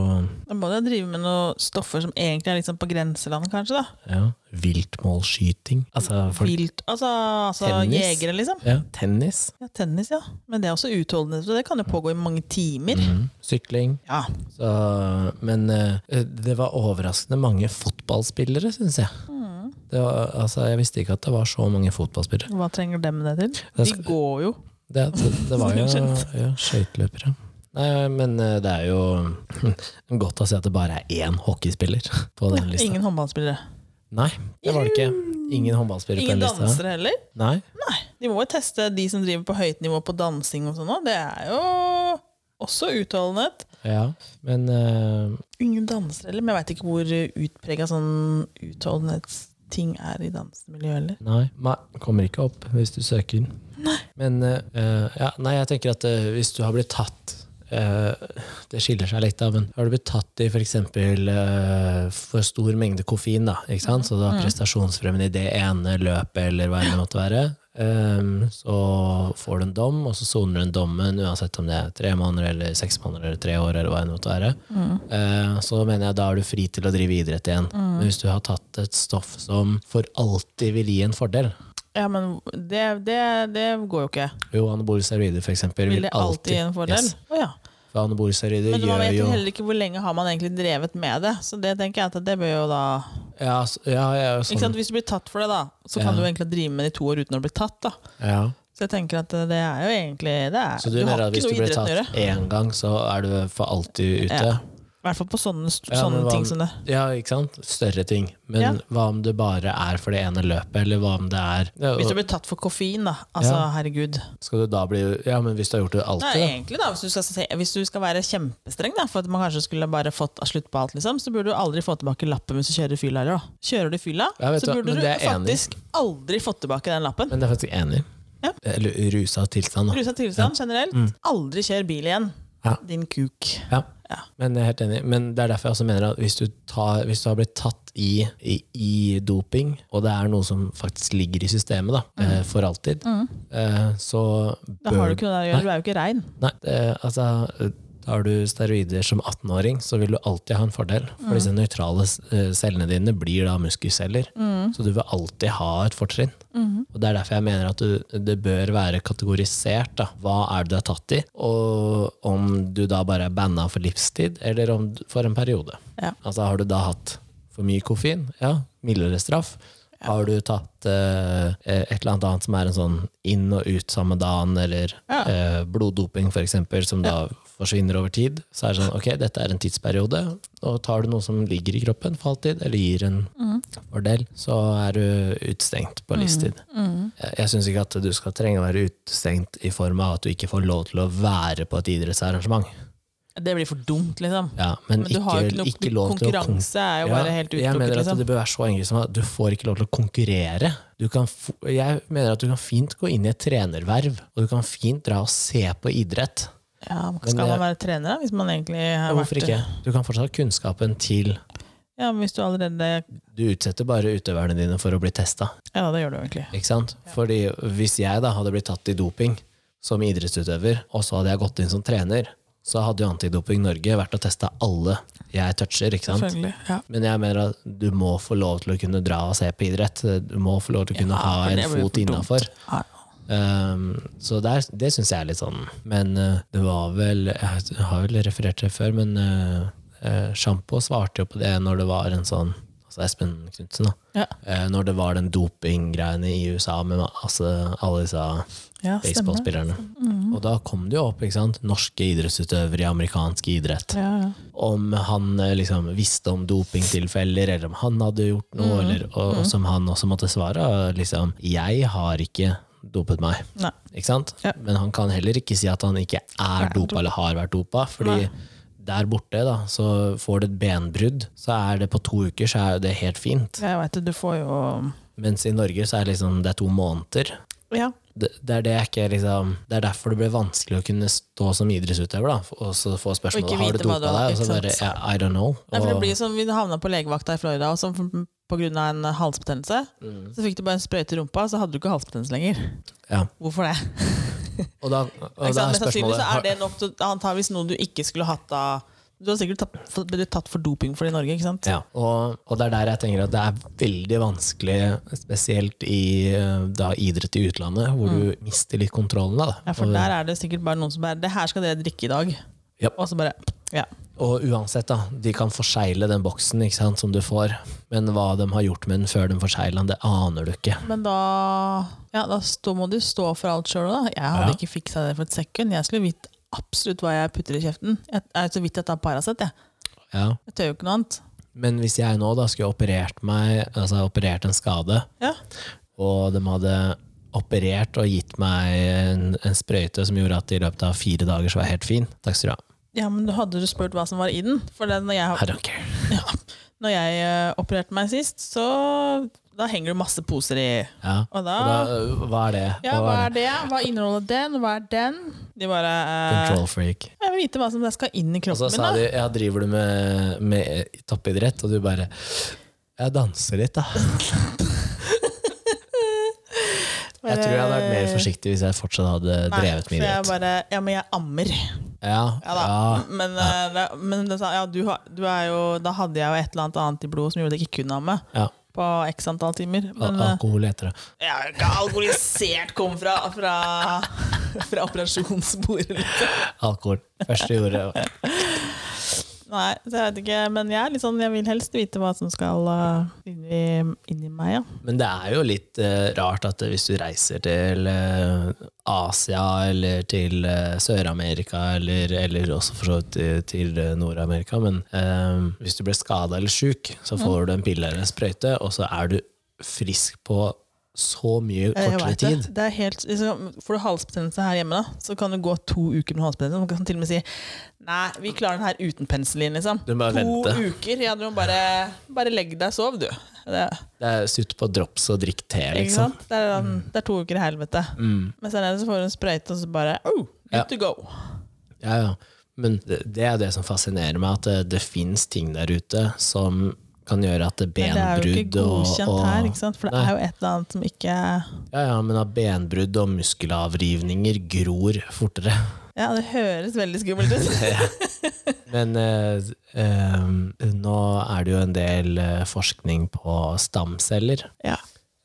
B: Da må du jo drive med noen stoffer som egentlig er liksom på grenseland, kanskje. da
A: ja, viltmålskyting. Altså folk
B: Vilt, Altså, altså
A: Tennis?
B: jegere, liksom.
A: ja, Tennis.
B: Ja, Tennis, ja. Men det er også utholdende, så det kan jo pågå i mange timer.
A: Mm, sykling.
B: Ja,
A: Så, men eh, det var overraskende mange fotballspillere, syns jeg.
B: Mm.
A: Det var, altså, jeg visste ikke at det var så mange fotballspillere.
B: Hva trenger dem det til?
A: Det
B: De
A: skal-
B: går jo.
A: Det, det, det var jo
B: Skjønt.
A: ja, skøyteløpere. Nei, men eh, det er jo godt å se at det bare er én hockeyspiller på den lista.
B: Ingen håndballspillere.
A: Nei, det var det ikke. Ingen håndballspillere på
B: Ingen
A: den lista.
B: dansere heller.
A: Nei,
B: Nei, de må jo teste de som driver på høyt nivå på dansing og sånn òg. Det er jo også utholdenhet.
A: ja, men eh,
B: Ingen dansere heller, men jeg veit ikke hvor utprega sånn utholdenhetsting er i dansemiljøet heller.
A: Nei, nei, kommer ikke opp hvis du søker. Men eh, eh, ja, nei, jeg tenker at eh, hvis du har blitt tatt eh, Det skiller seg litt, da, men har du blitt tatt i for eksempel eh, for stor mengde koffein, da, ikke sant? så du har prestasjonsfremmende i det ene løpet eller hva enn det måtte være, eh, så får du en dom, og så soner du den dommen, uansett om det er tre måneder eller seks måneder eller tre år eller hva enn det måtte være. Eh, så mener jeg da er du fri til å drive idrett igjen. Men hvis du har tatt et stoff som for alltid vil gi en fordel,
B: Ja, men det, det, det går jo ikke.
A: jo, anabole steroider for eksempel
B: Vil det alltid gi en fordel?
A: Yes.
B: Å ja.
A: For anabole steroider
B: Men man
A: gjør
B: vet
A: jo
B: jo heller ikke hvor lenge har man egentlig drevet med det. Så det tenker jeg at det bør jo da
A: Ja, s- ja, ja
B: ikke sant?
A: sånn.
B: Hvis du blir tatt for det, da, så kan
A: Ja.
B: du jo egentlig drive med det i to år uten å bli tatt. da
A: Ja.
B: Så jeg tenker at det er jo egentlig det er,
A: Så du, mener at hvis du blir
B: idretten å gjøre.
A: tatt én gang, så er du for alltid ute?
B: Ja. I hvert fall på sånne, st-
A: Ja, men
B: sånne
A: hva-
B: ting som det.
A: Ja, ikke sant? Større ting. Men
B: Ja.
A: hva om det bare er for det ene løpet, eller hva om det er ja,
B: Hvis du blir tatt for koffein, da. Altså,
A: Ja.
B: herregud.
A: Skal du da bli Ja, men hvis du har gjort det
B: Nei,
A: alltid,
B: egentlig da, hvis du, skal, se- hvis du skal være kjempestreng, da, for at man kanskje skulle bare fått slutt på alt, liksom, så burde du aldri få tilbake lappen hvis du kjører fylla heller. da. Kjører du fylla,
A: Ja, vet
B: så
A: du hva,
B: burde
A: men
B: du
A: det er jeg enig i.
B: faktisk aldri fått tilbake den
A: da
B: lappen.
A: Men det er jeg faktisk enig. i.
B: Ja.
A: Eller rusa tilstand, da.
B: Rusa tilstand generelt.
A: Mm.
B: Aldri kjør bil igjen,
A: Ja.
B: din kuk.
A: Ja.
B: Ja.
A: Men jeg er helt enig. Men det er derfor jeg også mener at hvis du, tar, hvis du har blitt tatt i, i, i doping, og det er noe som faktisk ligger i systemet da, eh, for alltid, eh, så
B: Mm. Da har
A: bør
B: du ikke noe der å gjøre. Du er jo ikke rein.
A: Nei, det, altså Tar du steroider som 18-åring, så vil du alltid ha en fordel. For disse nøytrale eh, cellene dine blir da muskelceller. Så du vil alltid ha et fortrinn. Og Det er derfor jeg mener at du, det bør være kategorisert. Da. Hva er det du er tatt i? Og om du da bare er banna for livstid, eller om du- for en periode.
B: Ja.
A: Altså Har du da hatt for mye koffein? Ja, mildere straff. Har du tatt eh, et eller annet annet som er en sånn inn og ut samme dagen, eller
B: Ja.
A: eh, bloddoping f.eks., som da forsvinner over tid, så er det sånn ok, dette er en tidsperiode, og tar du noe som ligger i kroppen for alltid, eller gir en
B: Mm.
A: fordel, så er du utestengt på livstid.
B: Mm.
A: Eh, Jeg, jeg syns ikke at du skal trenge å være utestengt i form av at du ikke får lov til å være på et idrettsarrangement.
B: Det blir for dumt, liksom.
A: Ja, men,
B: Men du har jo
A: ikke,
B: ikke noe
A: ikke lov til å konkurrere.
B: Konkurranse er jo bare helt
A: Jeg
B: utelukket,
A: mener at
B: liksom.
A: det bør være så enkelt som at du får ikke lov til å konkurrere. Du kan f jeg mener at du kan fint gå inn i et trenerverv, og du kan fint dra og se på idrett.
B: Ja,
A: det-
B: skal man være trener, da, hvis man egentlig
A: Ja,
B: har
A: hvorfor
B: vært
A: ikke? Du kan fortsatt ha kunnskapen til
B: Ja, men hvis du allerede
A: Du utsetter bare utøverne dine for å bli testa.
B: Ja, det gjør du egentlig.
A: Ikke sant? Fordi hvis jeg da hadde blitt tatt i doping som idrettsutøver, og så hadde jeg gått inn som trener, så hadde jo Antidoping Norge vært og testa alle jeg toucher. ikke sant?
B: Selvfølgelig. Ja.
A: Men jeg mener at du må få lov til å kunne dra og se på idrett. Du må få lov til å kunne
B: Ja,
A: ha
B: for
A: en
B: det
A: fot
B: blir for dumt.
A: innafor.
B: Ja.
A: Um, så der, det syns jeg er litt sånn. Men eh, det var vel Jeg har vel referert til det før, men eh, eh, Sjampo svarte jo på det når det var en sånn Altså Espen Knutsen, da.
B: Ja.
A: Eh, når det var den dopinggreiene i USA med altså, alle disse
B: Ja, stemmer. Mm.
A: baseballspillerne. Og da kom det jo opp ikke sant? norske idrettsutøvere i amerikansk idrett.
B: Ja, ja.
A: Om han eh, liksom, visste om dopingtilfeller, eller om han hadde gjort noe,
B: Mm.
A: eller, og, og som han også måtte svare. Liksom, jeg har ikke dopet meg.
B: Nei.
A: Ikke sant?
B: Ja.
A: Men han kan heller ikke si at han ikke er dopa eller har vært dopa. Fordi der borte, da, så får du et benbrudd, så er det på to uker, så er det helt fint.
B: Jeg veit det, du får jo
A: Mens i Norge så er det liksom, det er to måneder.
B: Ja.
A: Det, det, er det, jeg ikke, liksom, det er derfor det blir vanskelig å kunne stå som idrettsutøver, da, og så få
B: Og ikke
A: spørsmålet har du
B: vite hva
A: dopa
B: du har,
A: deg, og så
B: ikke
A: bare
B: sant?
A: ja, I don't know.
B: Nei, for det
A: Og-
B: blir som vi havna på legevakta i Florida, og som på grunn av en halsbetennelse. Så fikk du bare en sprøyte i rumpa, så hadde du ikke halsbetennelse lenger.
A: ja.
B: Hvorfor det?
A: og da, og da
B: Ikke sant?
A: er
B: Men sannsynligvis
A: spørsmålet
B: så er det nok til antageligvis noe du ikke skulle hatt av Du har sikkert tatt, fått- blitt tatt for doping for det i Norge, ikke sant?
A: Ja, og, og det er der jeg tenker at det er veldig vanskelig, spesielt i eh, da, idrett i utlandet, hvor du mister litt kontrollen. Da.
B: Mm. Ja, for der er det sikkert bare noen som bare 'Det her skal dere drikke i dag'.
A: Ja.
B: Og så bare Ja.
A: Og uansett, da, de kan forsegle den boksen ikke sant, som du får, men hva de har gjort med den før de forsegla den, det aner du ikke.
B: Men da, ja, da stå, må du stå for alt sjøl òg, da. Jeg hadde
A: Ja.
B: ikke fiksa det for et sekund. Jeg skulle vite absolutt hva jeg putter i kjeften. Jeg er så vidt jeg tar Paracet, jeg.
A: Ja.
B: Jeg tør jo ikke noe annet.
A: Men hvis jeg nå da skulle operert meg, altså operert en skade,
B: Ja.
A: og de hadde operert og gitt meg en, en sprøyte som gjorde at i løpet av fire dager så var jeg helt fin, takk skal du ha.
B: Ja, men da hadde du spurt hva som var i den? For det, når jeg,
A: I don't care.
B: ja, når jeg eh, opererte meg sist, så da henger det masse poser i.
A: Ja.
B: Og da,
A: Og da, øh, hva er det?
B: ja, hva er det? Hva inneholder den? Hva er den? De bare eh,
A: Control freak.
B: Jeg vil vite hva som skal inn i
A: Og så
B: kroppen
A: sa
B: min.
A: de
B: da.
A: ja, driver du med, med toppidrett, og du bare jeg danser litt, da. Jeg tror jeg hadde vært mer forsiktig hvis jeg fortsatt hadde drevet med
B: for jeg
A: idrett.
B: bare Ja, men jeg ammer.
A: Ja,
B: Ja da.
A: ja,
B: Men, eh, det- men det sa, ja, du, har- du er jo, da hadde jeg jo et eller annet annet i blodet som gjorde at jeg ikke kunne amme
A: ja.
B: på x antall timer.
A: Al-
B: Men eh,
A: Alkohol heter det.
B: jeg er jo ikke alkoholisert, kom fra, fra, fra operasjonsbordet, liksom.
A: Alkohol. Første ordet.
B: Nei, så jeg vet ikke. Men jeg, er litt sånn, jeg vil helst vite hva som skal uh, inn, i, inn i meg. Ja.
A: Men det er jo litt eh, rart at hvis du reiser til eh, Asia eller til eh, Sør-Amerika, eller, eller også for så vidt til, til eh, Nord-Amerika, men eh, hvis
B: Mm.
A: du blir skada eller sjuk, så får du en pille eller en sprøyte, og så er du frisk på så mye
B: Jeg
A: kortere
B: vet
A: tid.
B: Det. Det er helt, liksom, får du halsbetennelse her hjemme, da, så kan det gå to uker med halsbetennelse. Man kan til og med si nei, vi klarer den her uten penicillin. Liksom.
A: Du må
B: to
A: vente.
B: uker. Ja, du må bare, bare legge deg og sov, du. Det,
A: Det er Sutt på drops og drikk te,
B: ikke
A: liksom.
B: sant? Det, er, um, det er to uker i helvete.
A: Mm.
B: Men senere så får du en sprøyte, og så bare oh, good
A: Ja.
B: to go.
A: Ja, ja. Men det, det er det som fascinerer meg, at det, det fins ting der ute som kan gjøre at det
B: Men det er jo ikke
A: benbrudd og,
B: godkjent
A: og
B: her, ikke sant? for det
A: Nei.
B: er jo et eller annet som ikke
A: ja, ja, men at benbrudd og muskelavrivninger gror fortere.
B: Ja, det høres veldig skummelt ut.
A: Men eh, eh, nå er det jo en del eh, forskning på stamceller.
B: ja.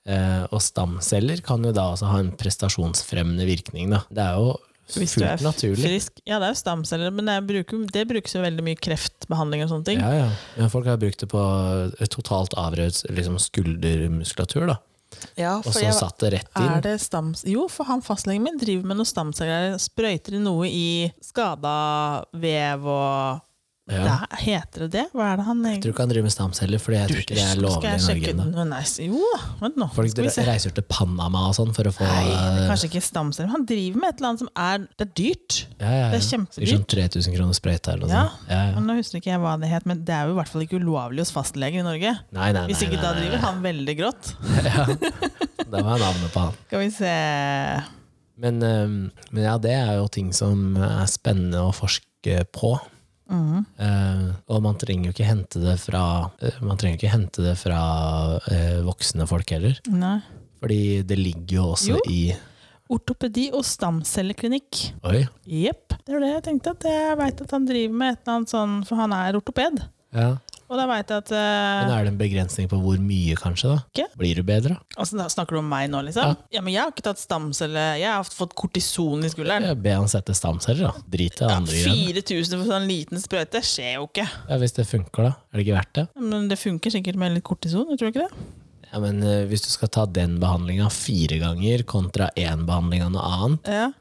A: Eh, og stamceller kan jo da også ha en prestasjonsfremmende virkning. Da. Det er jo
B: Hvis du er
A: fullt naturlig.
B: frisk. Ja, det er jo stamceller, men jeg bruker, det brukes jo veldig mye i kreftbehandling og sånne ting.
A: Ja, ja. Men folk har brukt det på eh, totalt avrød liksom skuldermuskulatur, da.
B: Ja,
A: og
B: for
A: så
B: jeg-
A: satt det rett
B: Er
A: inn.
B: det stams... Jo, for han fastlegen min driver med noe stamceller. Sprøyter i noe i skada vev og
A: Ja.
B: Hva Heter det det? Hva er det han
A: Jeg tror ikke han driver med stamceller, Fordi jeg tror ikke det er lovlig i Norge ennå.
B: ennå. Jo da, vent nå.
A: Folk
B: skal vi
A: dra-
B: se.
A: reiser til Panama og sånn for å få
B: Nei, det er
A: eh,
B: kanskje ikke stamceller. men Han driver med et eller annet som er Det er dyrt.
A: ja, ja, ja.
B: det er kjempedyrt.
A: Sikkert Sånn 3000 kroner sprøyte eller noe
B: Ja.
A: sånt. Ja, ja.
B: Men Nå husker ikke jeg hva det het, men det er jo i hvert fall ikke ulovlig hos fastlegen i Norge.
A: Nei, nei, nei.
B: Hvis ikke
A: nei,
B: da
A: nei,
B: driver han veldig grått.
A: nei. Da må jeg ha navnet på han.
B: Skal vi se
A: Men, eh, men ja, det er jo ting som er spennende å forske på.
B: Mm.
A: Eh, og man trenger jo ikke hente det fra, eh, man trenger ikke hente det fra eh, voksne folk heller.
B: Nei.
A: Fordi det ligger jo også
B: Jo.
A: i
B: Ortopedi og stamcelleklinikk.
A: Oi.
B: Jepp. Det var det jeg tenkte. at Jeg veit at han driver med et eller annet sånn, for han er ortoped.
A: Ja.
B: Og da veit jeg at
A: Men
B: eh,
A: er det en begrensning på hvor mye, kanskje? da?
B: Ikke.
A: Blir du bedre?
B: altså, da Snakker du om meg nå, liksom? Ja. men jeg har ikke tatt stamcelle. Jeg har fått kortison i skulderen.
A: Ja, Be han sette stamceller, da. Drit i det
B: Ja,
A: andre greiene.
B: 4000 for sånn liten sprøyte skjer jo ikke.
A: Ja, hvis det funker, da. Er det ikke verdt det?
B: Men det funker sikkert med litt kortison, tror du ikke det?
A: Ja, men eh, Hvis du skal ta den behandlinga fire ganger kontra én behandling av noe annet,
B: Ja.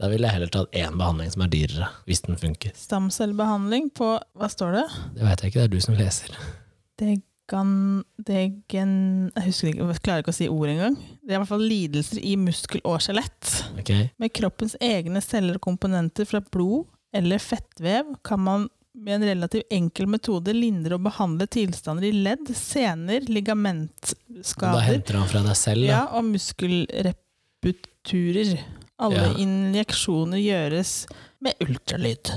A: da ville jeg heller tatt én behandling som er dyrere, hvis den funker.
B: Stamcellebehandling på Hva står det?
A: Det veit jeg ikke, det er du som leser.
B: Degan... Degen... Jeg husker ikke, jeg klarer ikke å si ordet engang. Det er i hvert fall lidelser i muskel og skjelett.
A: Ok?
B: Med kroppens egne celler og komponenter fra blod eller fettvev kan man med en relativt enkel metode lindre og behandle tilstander i ledd, sener,
A: Da
B: ligamentskader
A: henter han fra deg selv, da.
B: ja, og muskelreputurer. Alle
A: Ja.
B: injeksjoner gjøres med ultralyd.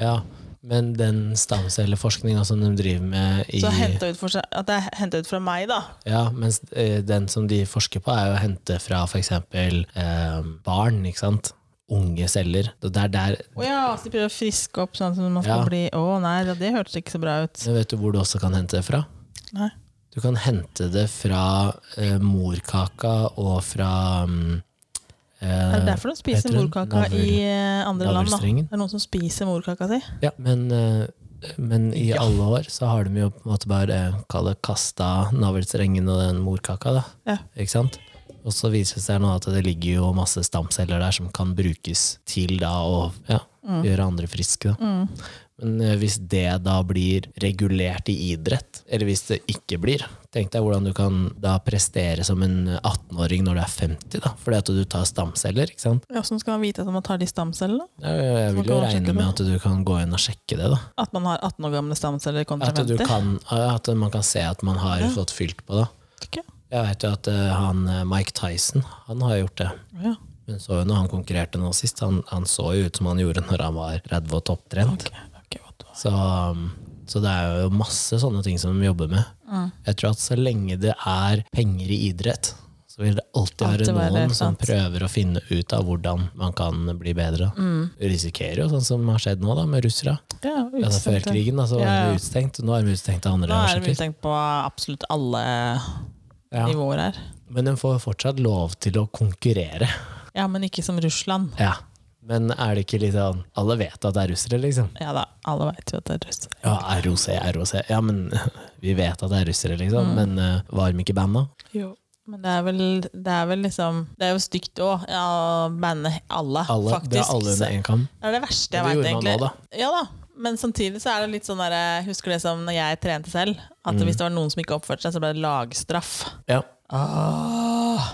A: Ja. Men den stamcelleforskninga som de driver med i
B: Så henta ut for seg, at det er henta ut fra meg, da.
A: Ja, mens eh, den som de forsker på er jo å hente fra for eksempel eh, barn, ikke sant? Unge celler. Og det er der,
B: Å ja, så de prøver å friske opp sånn som man skal
A: Ja.
B: bli Å nei, ja, det hørtes ikke så bra ut.
A: Men vet du hvor du også kan hente det fra?
B: Nei.
A: Du kan hente det fra eh, morkaka og fra mm,
B: Det er
A: eh,
B: derfor de spiser
A: heter hun?
B: morkaka i eh, andre land, da.
A: Navlestrengen?
B: Det er noen som spiser morkaka si.
A: Ja, men, eh, men i
B: Ja.
A: alle år så har de jo på en måte bare eh, kall det kasta navlestrengen og den morkaka, da.
B: Ja.
A: Ikke sant? Og så viser det seg nå at det ligger jo masse stamceller der som kan brukes til da å ja,
B: Mm.
A: gjøre andre friske. Da. Men eh, hvis det da blir regulert i idrett, eller hvis det ikke blir, tenk deg hvordan du kan da prestere som en 18-åring når du er 50, da. Fordi at du tar stamceller, ikke sant.
B: Ja, Hvordan skal man vite at man tar de stamcellene?
A: Jeg, jeg vil jo
B: kan man sjekke
A: regne med at du kan gå inn og sjekke det, da.
B: At man har 18 år gamle stamceller kontra
A: At, du
B: 50?
A: kan, at man kan se at man har
B: Ja.
A: fått fylt på, da.
B: Ikke?
A: Jeg vet jo at eh, han eh, Mike Tyson, han har gjort det.
B: Ja.
A: Men så jo når han konkurrerte nå sist, han, han så jo ut som han gjorde når han var 30 og topptrent.
B: Ok, ok, what the-
A: Så, um, så det er jo masse sånne ting som de jobber med.
B: Mm.
A: Jeg tror at så lenge det er penger i idrett, så vil det alltid være
B: Alltid være
A: noen
B: det,
A: som
B: sant.
A: prøver å finne ut av hvordan man kan bli bedre.
B: Mm.
A: Vi risikerer jo sånn som har skjedd nå da, med russere.
B: Ja,
A: Altså, før
B: utstengt.
A: krigen da, så var
B: Ja, ja.
A: de utstengt, og nå er de utstengt av andre
B: Nå er det
A: årsaker.
B: utstengt på absolutt alle
A: Ja.
B: nivåer her.
A: Men de får fortsatt lov til å konkurrere.
B: Ja, men ikke som Russland.
A: Ja. Men er det ikke litt sånn Alle vet at det er russere, liksom.
B: Ja da, alle veit jo at det er russ.
A: Ja, ROC, ROC. Ja, men vi vet at det er russere,
B: Mm.
A: liksom. Men eh, var de ikke banda?
B: Jo. Men det er vel, det er vel liksom Det er jo stygt òg, ja, å banne alle,
A: Alle,
B: faktisk.
A: det er alle under én kam.
B: Det er det verste
A: Men
B: jeg
A: det
B: veit,
A: gjorde man
B: egentlig.
A: nå,
B: Ja da, Men samtidig så er det litt sånn der, jeg husker det som når jeg
A: Mm.
B: trente selv, at hvis det var noen som ikke oppførte seg, så ble det lagstraff.
A: Ja.
B: Åh.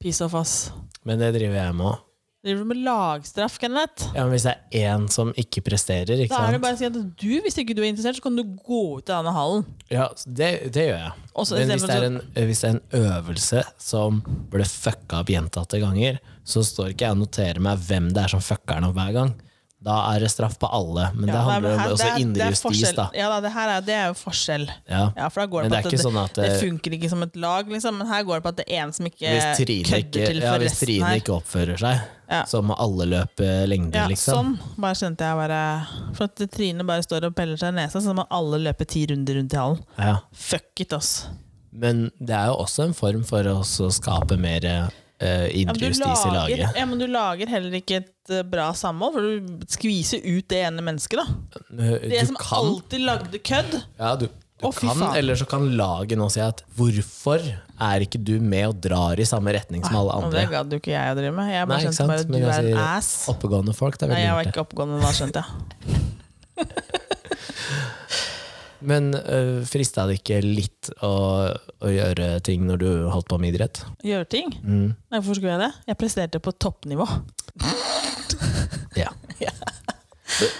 B: Piece of us.
A: Men det driver jeg med òg.
B: Driver du med lagstraff, Kenneth?
A: Ja, men hvis det er én som ikke presterer, ikke
B: Da er det
A: sant?
B: bare å si at du, hvis ikke du er interessert, så kan du gå ut av denne hallen.
A: Ja, det, det gjør jeg.
B: Og så
A: Men
B: i
A: hvis
B: stedet
A: det, er
B: for
A: en, hvis det er en øvelse som ble fucka opp gjentatte ganger, så står ikke jeg og noterer meg hvem det er som fucker den opp hver gang. Da er det straff på alle, men
B: Ja,
A: det
B: nei, men
A: handler
B: her-
A: om
B: det
A: også
B: er- det
A: indre
B: er
A: justis,
B: forskjell.
A: da.
B: Ja, da, det her er, det er jo forskjell.
A: Ja.
B: Ja, for da går det
A: Men
B: på
A: det er
B: at
A: ikke
B: det,
A: sånn at
B: det
A: eh,
B: funker ikke som et lag, liksom, men her går det på at det er en som ikke
A: hvis Trine ikke,
B: Eh, kødder til
A: ja,
B: for
A: hvis
B: resten
A: Trine
B: her.
A: ikke oppfører seg,
B: Ja.
A: så må alle løpe lengde,
B: Ja,
A: liksom.
B: Sånn bare skjønte jeg bare For at Trine bare står og peller seg i nesa, så må alle løpe ti runder rundt i hallen.
A: Ja.
B: Fuck it, ass.
A: Men det er jo også en form for å også skape mer eh,
B: Ja, men
A: indre
B: du
A: justis i
B: lager,
A: laget.
B: ja, men du lager heller ikke et eh, bra samhold, for du skviser ut det ene mennesket, da. Det
A: eh, Du
B: som
A: kan
B: alltid lagde kødd.
A: Ja, du, du
B: Å, fy
A: kan,
B: faen.
A: eller så kan laget nå si at hvorfor er ikke du med og drar i samme retning som alle
B: Og
A: andre?
B: det gadd jo ikke jeg å drive med. Jeg
A: Nei,
B: bare
A: ikke
B: skjønte
A: sant?
B: bare at
A: Men
B: du
A: jeg
B: er en
A: sier-
B: ass.
A: Oppegående folk, det er
B: Nei,
A: veldig
B: jeg var
A: lurt. det.
B: ikke oppegående da, skjønte jeg.
A: Men øh, frista det ikke litt å, å gjøre ting når du holdt på med idrett?
B: Gjøre ting?
A: Mm.
B: Nei, hvorfor skulle jeg det? Jeg presterte på toppnivå.
A: Ja.
B: Ja.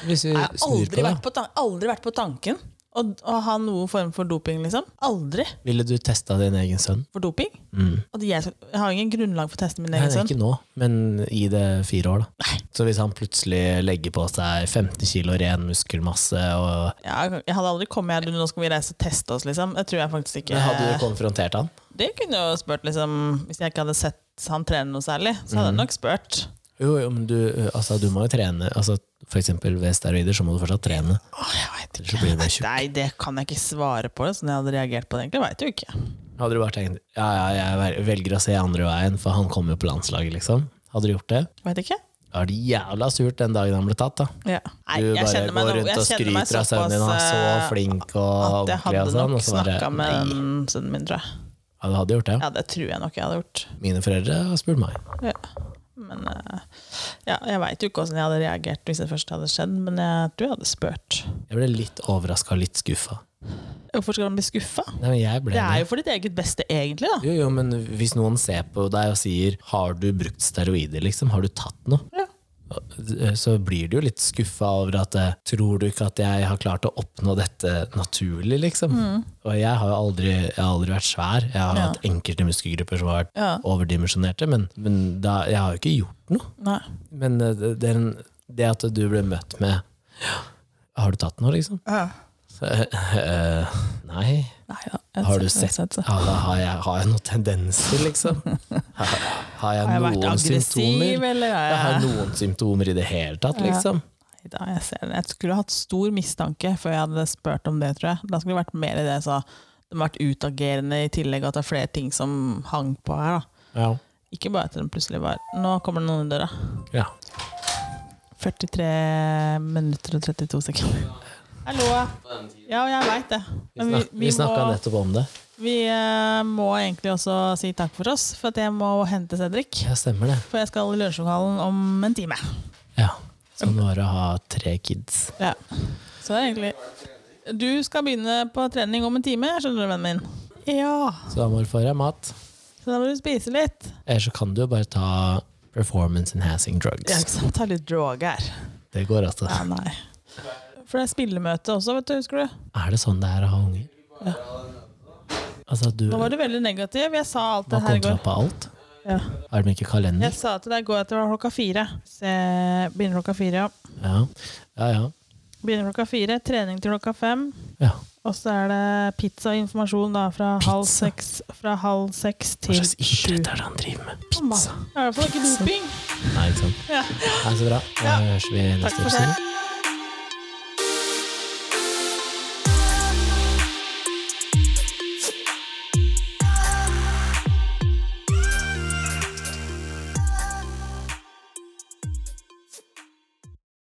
A: Hvis vi
B: Jeg har
A: snur på
B: aldri
A: det,
B: vært på, tan aldri vært på tanken å, å ha noen form for doping, liksom. Aldri
A: ville du testa din egen sønn?
B: for doping.
A: Mm.
B: Og det- jeg, skal- jeg har ingen grunnlag for å teste min
A: Nei,
B: egen
A: det er
B: sønn.
A: ikke nå, men gi det fire år, da. Så hvis han plutselig legger på seg 15 kilo ren muskelmasse og
B: Jeg, jeg hadde aldri kommet her, du, nå skal vi reise og teste oss, liksom. Det tror jeg faktisk ikke.
A: Men Hadde du konfrontert han?
B: Det kunne jeg jo spurt, liksom. Hvis jeg ikke hadde sett han trene noe særlig, så
A: Mhm.
B: hadde jeg nok spurt.
A: Jo, jo, men du, altså, du må jo trene. Altså, for eksempel ved steroider så må du fortsatt trene.
B: Åh, jeg vet
A: Ellers så blir du tjukk.
B: Nei, det kan jeg ikke svare på. Sånn jeg hadde reagert på det, egentlig, veit jeg jo ikke.
A: Hadde du bare tenkt ja, ja, jeg vel- velger å se andre veien, for han kommer jo på landslaget, liksom. Hadde du gjort det?
B: Vet ikke.
A: Da er det jævla surt den dagen han ble tatt, da.
B: Ja. Nei,
A: Du
B: jeg
A: bare
B: kjenner meg
A: går
B: nå-
A: rundt
B: jeg
A: og
B: kjenner meg
A: skryter av sønnen din, han er
B: såpass,
A: så
B: eh,
A: flink og
B: At jeg
A: ordentlig
B: hadde
A: og sånn.
B: nok
A: Og så bare,
B: snakka med
A: nei.
B: den sønnen min, tror jeg.
A: Ja, du hadde gjort det.
B: Ja, det tror jeg nok jeg hadde gjort.
A: Mine foreldre har spurt meg.
B: Ja. Men eh, ja, jeg veit jo ikke åssen jeg hadde reagert hvis det først hadde skjedd, men jeg tror jeg hadde spurt.
A: Jeg ble litt overraska og litt skuffa.
B: Hvorfor skal man bli skuffa?
A: Nei, men jeg ble
B: Det er
A: det.
B: jo for ditt eget beste, egentlig, da.
A: Jo, jo, men hvis noen ser på deg og sier 'har du brukt steroider', liksom, har du tatt noe? Eh,
B: Ja.
A: så blir du jo litt skuffa over at eh, Tror du ikke at jeg har klart å oppnå dette naturlig, liksom? Og jeg har jo aldri, jeg har aldri vært svær. Jeg har
B: Mm. Ja.
A: hatt enkelte muskelgrupper som har vært
B: Ja.
A: overdimensjonerte, men, men da, jeg har jo ikke gjort noe.
B: Nei.
A: Men eh, det- den, det at du ble møtt med «Ja, Har du tatt noe, liksom? Så, eh, nei.
B: Nei, ja. Jeg sånn.
A: Har du
B: jeg
A: sett
B: det.
A: Ja, da har jeg, har jeg noen tendenser, liksom? Har, har jeg,
B: Har jeg vært
A: noen
B: aggressiv,
A: symptomer?
B: eller?
A: Jeg
B: har
A: har
B: jeg-
A: noen symptomer i det hele tatt,
B: Ja.
A: liksom.
B: Nei, da, jeg, ser det. jeg skulle hatt stor mistanke før jeg hadde spurt om det, tror jeg. Da skulle det vært mer i det jeg sa. De har vært utagerende i tillegg, og at det er flere ting som hang på her. da.
A: Ja.
B: Ikke bare at den plutselig var Nå kommer det noen i døra.
A: ja.
B: 43 minutter og 32 sekunder. Hallo. Ja, jeg veit det.
A: Vi,
B: Men
A: snak, vi, snakka
B: må,
A: nettopp om det.
B: vi eh, må egentlig også si takk for oss, for at jeg må hente Cedric.
A: Ja, stemmer det.
B: For jeg skal i lunsjlokalen om en time.
A: Ja. Sånn var det å ha tre kids.
B: Ja. Så det er egentlig Du skal begynne på trening om en time, skjønner du, vennen min. Ja.
A: Så da må du få deg mat.
B: Så da må du spise litt.
A: Eller så kan du jo bare ta performance enhancing
B: Ja,
A: drugs.
B: ikke sant. Ta litt droger.
A: Det går altså.
B: Ja, nei. For det er spillemøte også, vet du. Husker du?
A: Er det sånn det er å ha unger? Altså, du
B: Nå
A: har
B: var du veldig negativ. Jeg sa alt det her i
A: kontra
B: går.
A: på alt?
B: Ja.
A: Har de ikke kalender?
B: Jeg sa til deg i går at det var klokka fire. Se, begynner klokka fire, ja.
A: Ja. Ja, ja.
B: Begynner klokka fire, trening til klokka fem.
A: ja.
B: Og så er det pizza og informasjon da, fra,
A: Pizza?
B: halv seks, fra halv seks
A: Hva
B: til
A: slags
B: sju.
A: idrett er det han driver med?
B: Mamma, Det er i hvert fall ikke doping.
A: Nei, ikke sant.
B: Ja.
A: Nei, så bra. Da
B: Ja.
A: høres vi i
B: Takk
A: neste
B: for
A: episode.
B: det.